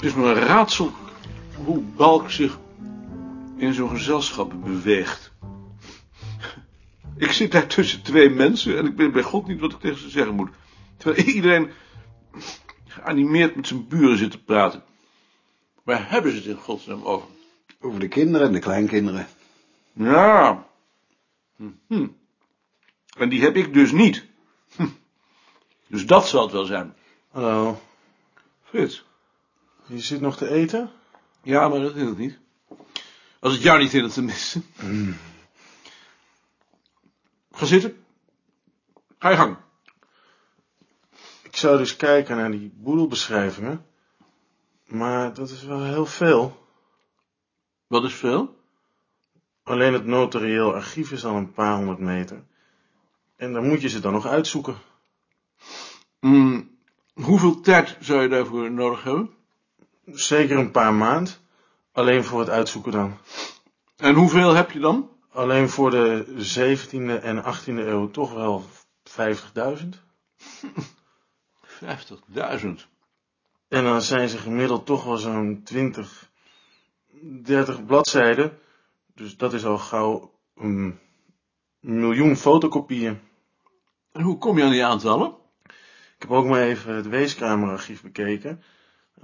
is me een raadsel hoe Balk zich in zo'n gezelschap beweegt. Ik zit daar tussen twee mensen en ik weet bij God niet wat ik tegen ze zeggen moet. Terwijl iedereen geanimeerd met zijn buren zit te praten. Waar hebben ze het in godsnaam over? Over de kinderen en de kleinkinderen. Ja. Hm. En die heb ik dus niet. Hm. Dus dat zal het wel zijn. Hallo, Frits. je zit nog te eten? Ja, maar dat is het niet. Als het jou niet in het tenminste. Ga zitten. Ga je gang. Ik zou dus kijken naar die boedelbeschrijvingen. Maar dat is wel heel veel. Wat is veel? Alleen het notarieel archief is al een paar honderd meter. En dan moet je ze dan nog uitzoeken. Mm, hoeveel tijd zou je daarvoor nodig hebben? Zeker een paar maand. Alleen voor het uitzoeken dan. En hoeveel heb je dan? Alleen voor de 17e en 18e eeuw toch wel 50.000. 50.000. En dan zijn ze gemiddeld toch wel zo'n 20, 30 bladzijden. Dus dat is al gauw een miljoen fotocopieën. En hoe kom je aan die aantallen? Ik heb ook maar even het Weeskamerarchief bekeken.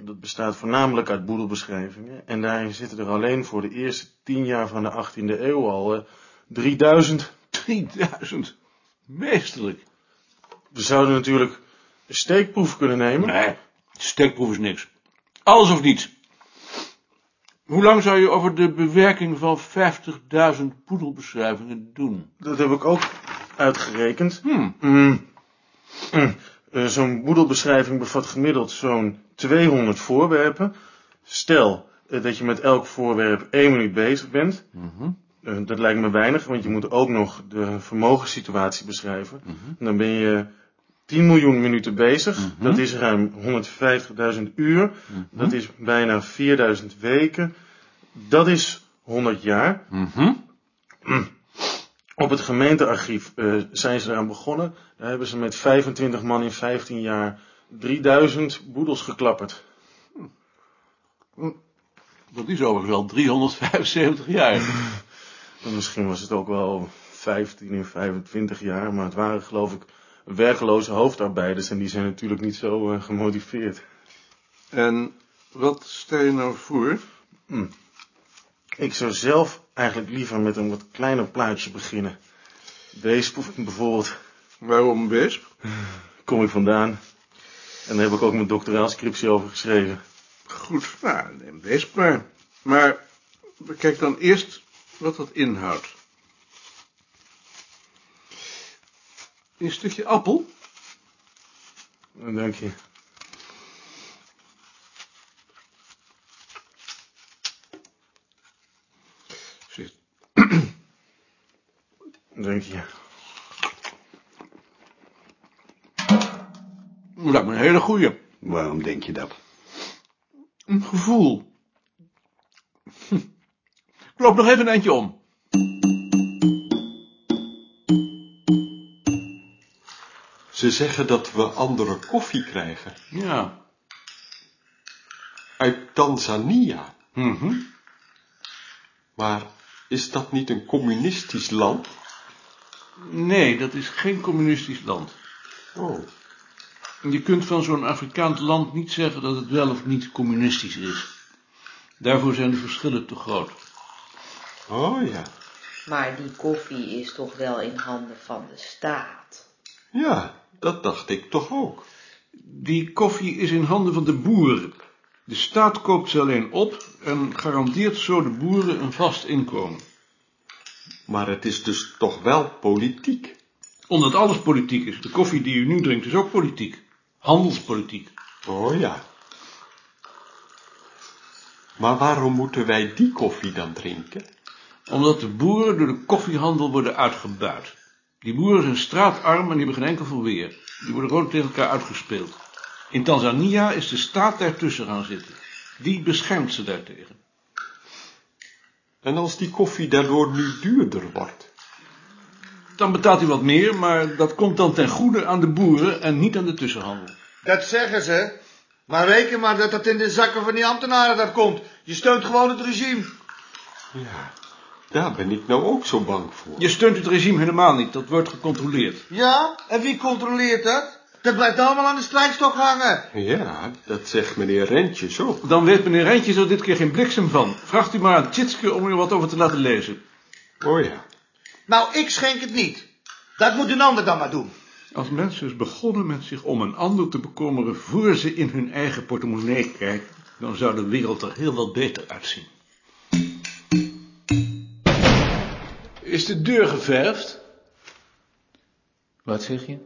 Dat bestaat voornamelijk uit boedelbeschrijvingen. En daarin zitten er alleen voor de eerste 10 jaar van de 18e eeuw al eh, 3000. 3000. Meesterlijk. We zouden natuurlijk een steekproef kunnen nemen. Nee, stekproef is niks. Alles of niets. Hoe lang zou je over de bewerking van 50.000 poedelbeschrijvingen doen? Dat heb ik ook uitgerekend. Hmm. Mm. Mm. Eh, zo'n boedelbeschrijving bevat gemiddeld zo'n 200 voorwerpen. Stel eh, dat je met elk voorwerp één minuut bezig bent. Mhm, Eh, dat lijkt me weinig, want je moet ook nog de vermogenssituatie beschrijven. mhm. En Dan ben je 10 miljoen minuten bezig. Dat is ruim 150.000 uur. Dat is bijna 4000 weken. Dat is 100 jaar. Mhm. Op het gemeentearchief eh, zijn ze eraan begonnen. Daar hebben ze met 25 man in 15 jaar 3000 boedels geklapperd. Dat is overigens wel 375 jaar. En misschien was het ook wel 15 in 25 jaar, maar het waren geloof ik werkloze hoofdarbeiders en die zijn natuurlijk niet zo eh, gemotiveerd. En wat stel je nou voor? Ik zou zelf eigenlijk liever met een wat kleiner plaatje beginnen. Deze bijvoorbeeld, Waarom best? kom ik vandaan. En daar heb ik ook mijn doctoraalscriptie over geschreven. Goed, nou, neem deze maar. Maar bekijk dan eerst wat dat inhoudt. Een stukje appel? Dank je. Zit. Dank je. Dat lijkt me een hele goeie. Waarom denk je dat? Een gevoel. Hm. Ik loop nog even een eindje om. Ze zeggen dat we andere koffie krijgen. Ja. Uit Tanzania. Mhm. Maar is dat niet een communistisch land? Nee, dat is geen communistisch land. Oh, Je kunt van zo'n Afrikaans land niet zeggen dat het wel of niet communistisch is. Daarvoor zijn de verschillen te groot. oh ja. Maar die koffie is toch wel in handen van de staat. Ja, dat dacht ik toch ook. Die koffie is in handen van de boeren. De staat koopt ze alleen op en garandeert zo de boeren een vast inkomen. Maar het is dus toch wel politiek. Omdat alles politiek is. De koffie die u nu drinkt is ook politiek. Handelspolitiek. Oh ja. Maar waarom moeten wij die koffie dan drinken? Omdat de boeren door de koffiehandel worden uitgebuit. Die boeren zijn straatarm en die hebben geen enkel verweer. Die worden gewoon tegen elkaar uitgespeeld. In Tanzania is de staat daartussen gaan zitten. Die beschermt ze daartegen. En als die koffie daardoor nu duurder wordt? Dan betaalt hij wat meer, maar dat komt dan ten goede aan de boeren en niet aan de tussenhandel. Dat zeggen ze, Maar reken maar dat dat in de zakken van die ambtenaren dat komt. Je steunt gewoon het regime. Ja, daar ben ik nou ook zo bang voor. Je steunt het regime helemaal niet. Dat wordt gecontroleerd. Ja, en wie controleert dat? Dat blijft allemaal aan de strijkstok hangen. Ja, dat zegt meneer Rentjes ook. Dan weet meneer Rijntjes er dit keer geen bliksem van. Vraagt u maar aan Tjitske om u wat over te laten lezen. Oh ja. Nou, ik schenk het niet. Dat moet een ander dan maar doen. Als mensen eens begonnen met zich om een ander te bekommeren voor ze in hun eigen portemonnee kijken, dan zou de wereld er heel wat beter uitzien. Is de deur geverfd? Wat zeg je?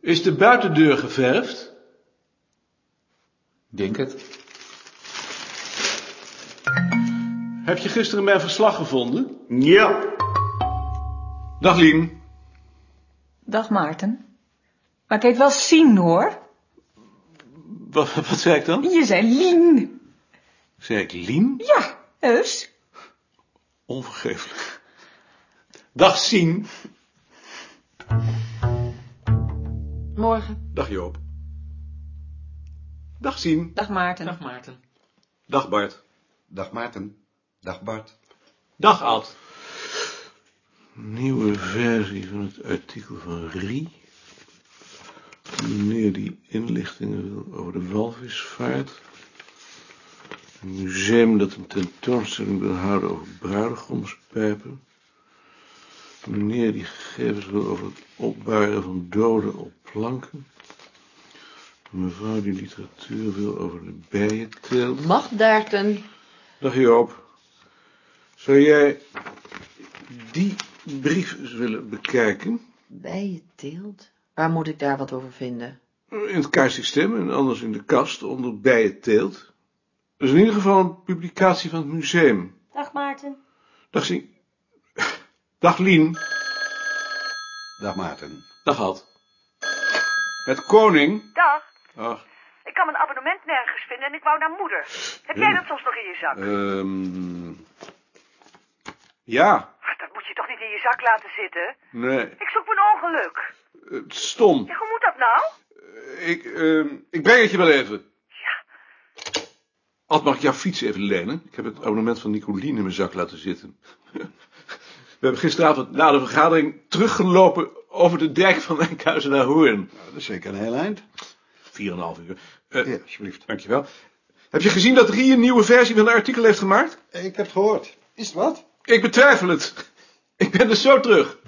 Is de buitendeur geverfd? Denk het. Heb je gisteren mijn verslag gevonden? Ja. Dag Lien. Dag Maarten. Maar ik heet wel Sien hoor. Wat, wat zei ik dan? Je zei Lien. Zei ik Lien? Ja, heus. Onvergeeflijk. Dag Sien. Morgen. Dag Joop. Dag Sien. Dag Maarten. Dag Maarten. Dag Bart. Dag Maarten. Dag Bart. Dag Ad. Nieuwe versie van het artikel van Rie. Meneer die inlichtingen wil over de walvisvaart. Een museum dat een tentoonstelling wil houden over bruidegomspijpen. Meneer die gegevens wil over het opbuigen van doden op planken. Een Mevrouw die literatuur wil over de bijenteelt. Magdaarten. Dag Joop. Zou jij die brief eens willen bekijken? Bij je teelt. Waar moet ik daar wat over vinden? In het kaartsysteem en anders in de kast onder bij het teelt. Dat is in ieder geval een publicatie van het museum. Dag Maarten. Dag Sien. Dag Lien. Dag Maarten. Dag Ad. Het koning. Dag. Ach, Ik kan mijn abonnement nergens vinden en ik wou naar moeder. Heb jij dat soms nog in je zak? ehm... Ja, Ach, Dat moet je toch niet in je zak laten zitten? nee. Ik zoek mijn ongeluk. Het is stom. Ja, hoe moet dat nou? Ik, ehm, ik breng het je wel even. Ja. Ad, mag ik jouw fiets even lenen? Ik heb het abonnement van Nicolien in mijn zak laten zitten. We hebben gisteravond na de vergadering teruggelopen over de dijk van Enkhuizen naar Hoorn. Nou, dat is zeker een heel eind. 4,5 uur. Eh, Ja, alsjeblieft. Dankjewel. Heb je gezien dat Rie een nieuwe versie van het artikel heeft gemaakt? Ik heb het gehoord. Is het wat? Ik betwijfel het. Ik ben dus zo terug.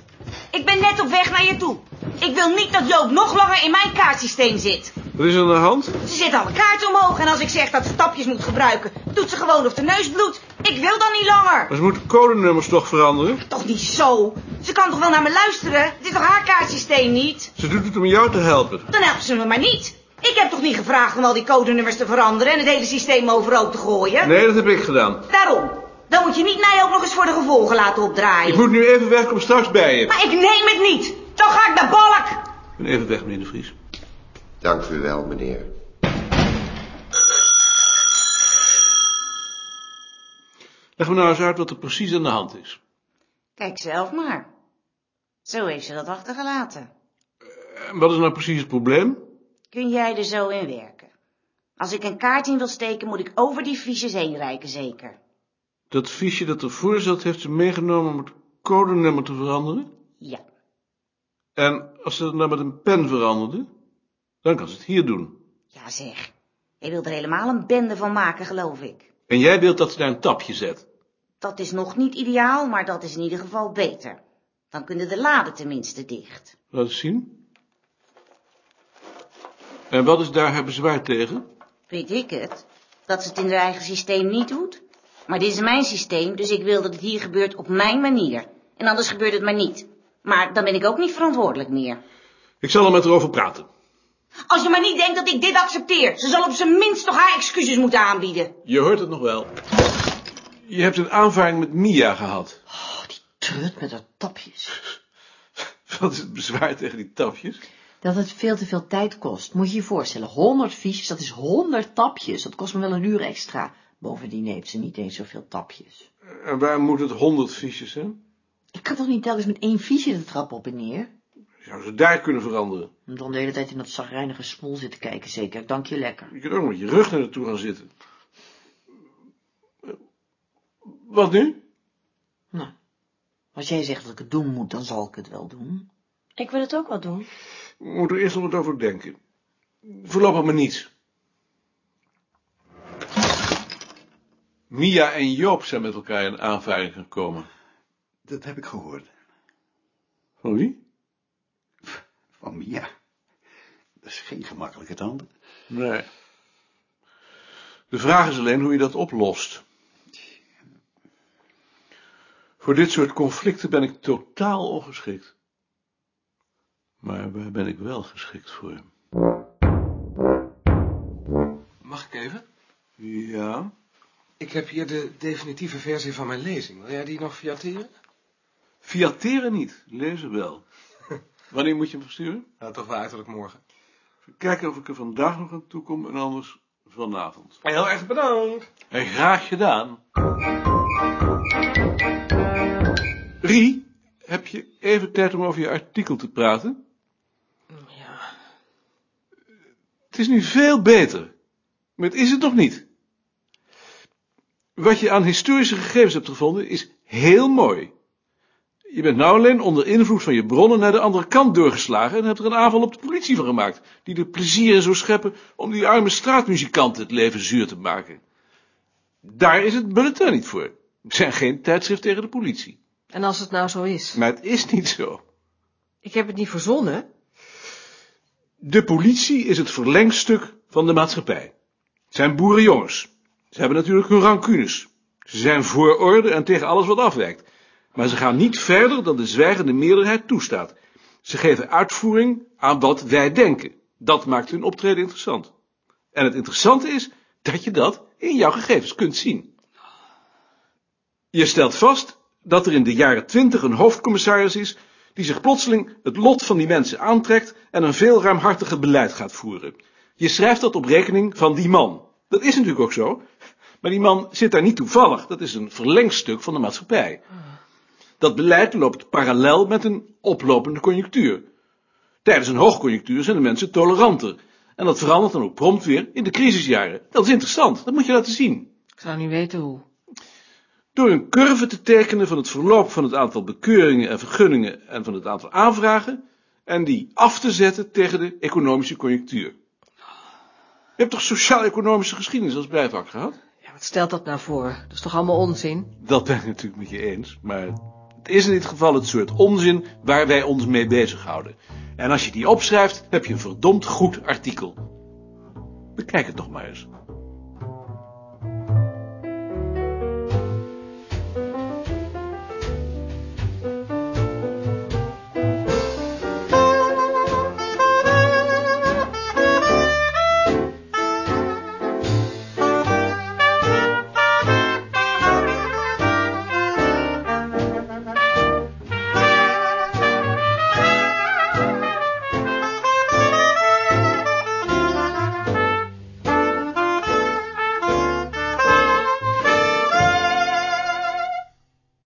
Ik ben net op weg naar je toe. Ik wil niet dat Joop nog langer in mijn kaartsysteem zit. Wat is er aan de hand? Ze zet alle kaarten omhoog en als ik zeg dat ze stapjes moet gebruiken, doet ze gewoon of de neus bloedt. Ik wil dan niet langer. Maar ze moeten codenummers toch veranderen? Toch niet zo. Ze kan toch wel naar me luisteren? Het is toch haar kaartsysteem niet? Ze doet het om jou te helpen. Dan helpt ze me maar niet. Ik heb toch niet gevraagd om al die codenummers te veranderen en het hele systeem overhoop te gooien? Nee, dat heb ik gedaan. Daarom. Dan moet je niet mij ook nog eens voor de gevolgen laten opdraaien. Ik moet nu even weg, kom straks bij je. Maar ik neem het niet. Dan ga ik naar Balk. Ik ben even weg, meneer de Vries. Dank u wel, meneer. Leg me nou eens uit wat er precies aan de hand is. Kijk zelf maar. Zo heeft ze dat achtergelaten. En wat is nou precies het probleem? Kun jij er zo in werken? Als ik een kaart in wil steken, moet ik over die fiches heen reiken, zeker. Dat fiche dat ervoor zat, heeft ze meegenomen om het codenummer te veranderen. Ja. En als ze dat nou met een pen veranderde, dan kan ze het hier doen. Ja, zeg. Je wilt er helemaal een bende van maken, geloof ik. En jij wilt dat ze daar een tapje zet. Dat is nog niet ideaal, maar dat is in ieder geval beter. Dan kunnen de laden tenminste dicht. Laat eens zien. En wat is daar haar bezwaar tegen? Weet ik het? Dat ze het in haar eigen systeem niet doet? Maar dit is mijn systeem, dus ik wil dat het hier gebeurt op mijn manier. En anders gebeurt het maar niet. Maar dan ben ik ook niet verantwoordelijk meer. Ik zal er met haar over praten. Als je maar niet denkt dat ik dit accepteer. Ze zal op zijn minst toch haar excuses moeten aanbieden. Je hoort het nog wel. Je hebt een aanvaring met Mia gehad. Trut met haar tapjes. Wat is het bezwaar tegen die tapjes? Dat het veel te veel tijd kost. Moet je je voorstellen, 100 fiches, dat is 100 tapjes. Dat kost me wel een uur extra. Bovendien heeft ze niet eens zoveel tapjes. En waar moet het honderd fiches zijn? Ik kan toch niet telkens met één fiche de trap op en neer? Zou ze daar kunnen veranderen? En dan de hele tijd in dat zagrijnige smoel zitten kijken, zeker. Dank je lekker. Je kunt ook met je rug naar naartoe gaan zitten. Wat nu? Nou, als jij zegt dat ik het doen moet, dan zal ik het wel doen. Ik wil het ook wel doen. We moeten er eerst nog wat over denken. Voorlopig maar niets. Mia en Joop zijn met elkaar in aanvaring gekomen. Dat heb ik gehoord. Van wie? Van Mia. Dat is geen gemakkelijke tand. Nee. De vraag is alleen hoe je dat oplost. Voor dit soort conflicten ben ik totaal ongeschikt. Maar waar ben ik wel geschikt voor? Mag ik even? Ja. Ik heb hier de definitieve versie van mijn lezing. Wil jij die nog fiateren? Fiateren niet, lezen wel. Wanneer moet je hem versturen? Nou, toch wel uiterlijk morgen. Even kijken of ik er vandaag nog aan toe kom en anders vanavond. Heel erg bedankt. En graag gedaan. Rie, heb je even tijd om over je artikel te praten? Ja. Het is nu veel beter. Maar het is het nog niet. Wat je aan historische gegevens hebt gevonden is heel mooi. Je bent nou alleen onder invloed van je bronnen naar de andere kant doorgeslagen en hebt er een aanval op de politie van gemaakt, die er plezier in zou scheppen om die arme straatmuzikanten het leven zuur te maken. Daar is het bulletin niet voor. Er zijn geen tijdschrift tegen de politie. En als het nou zo is? Maar het is niet zo. Ik heb het niet verzonnen. De politie is het verlengstuk van de maatschappij. Het zijn boerenjongens. Ze hebben natuurlijk hun rancunes. Ze zijn voor orde en tegen alles wat afwijkt. Maar ze gaan niet verder dan de zwijgende meerderheid toestaat. Ze geven uitvoering aan wat wij denken. Dat maakt hun optreden interessant. En het interessante is dat je dat in jouw gegevens kunt zien. Je stelt vast dat er in de jaren twintig een hoofdcommissaris is die zich plotseling het lot van die mensen aantrekt en een veel ruimhartiger beleid gaat voeren. Je schrijft dat op rekening van die man. Dat is natuurlijk ook zo. Maar die man zit daar niet toevallig. Dat is een verlengstuk van de maatschappij. Dat beleid loopt parallel met een oplopende conjunctuur. Tijdens een hoogconjunctuur zijn de mensen toleranter. En dat verandert dan ook prompt weer in de crisisjaren. Dat is interessant. Dat moet je laten zien. Ik zou niet weten hoe. Door een curve te tekenen van het verloop van het aantal bekeuringen en vergunningen en van het aantal aanvragen. En die af te zetten tegen de economische conjunctuur. Je hebt toch sociaal-economische geschiedenis als bijvak gehad? Ja, wat stelt dat nou voor? Dat is toch allemaal onzin? Dat ben ik natuurlijk met je eens, maar het is in dit geval het soort onzin waar wij ons mee bezighouden. En als je die opschrijft, heb je een verdomd goed artikel. Bekijk het nog maar eens.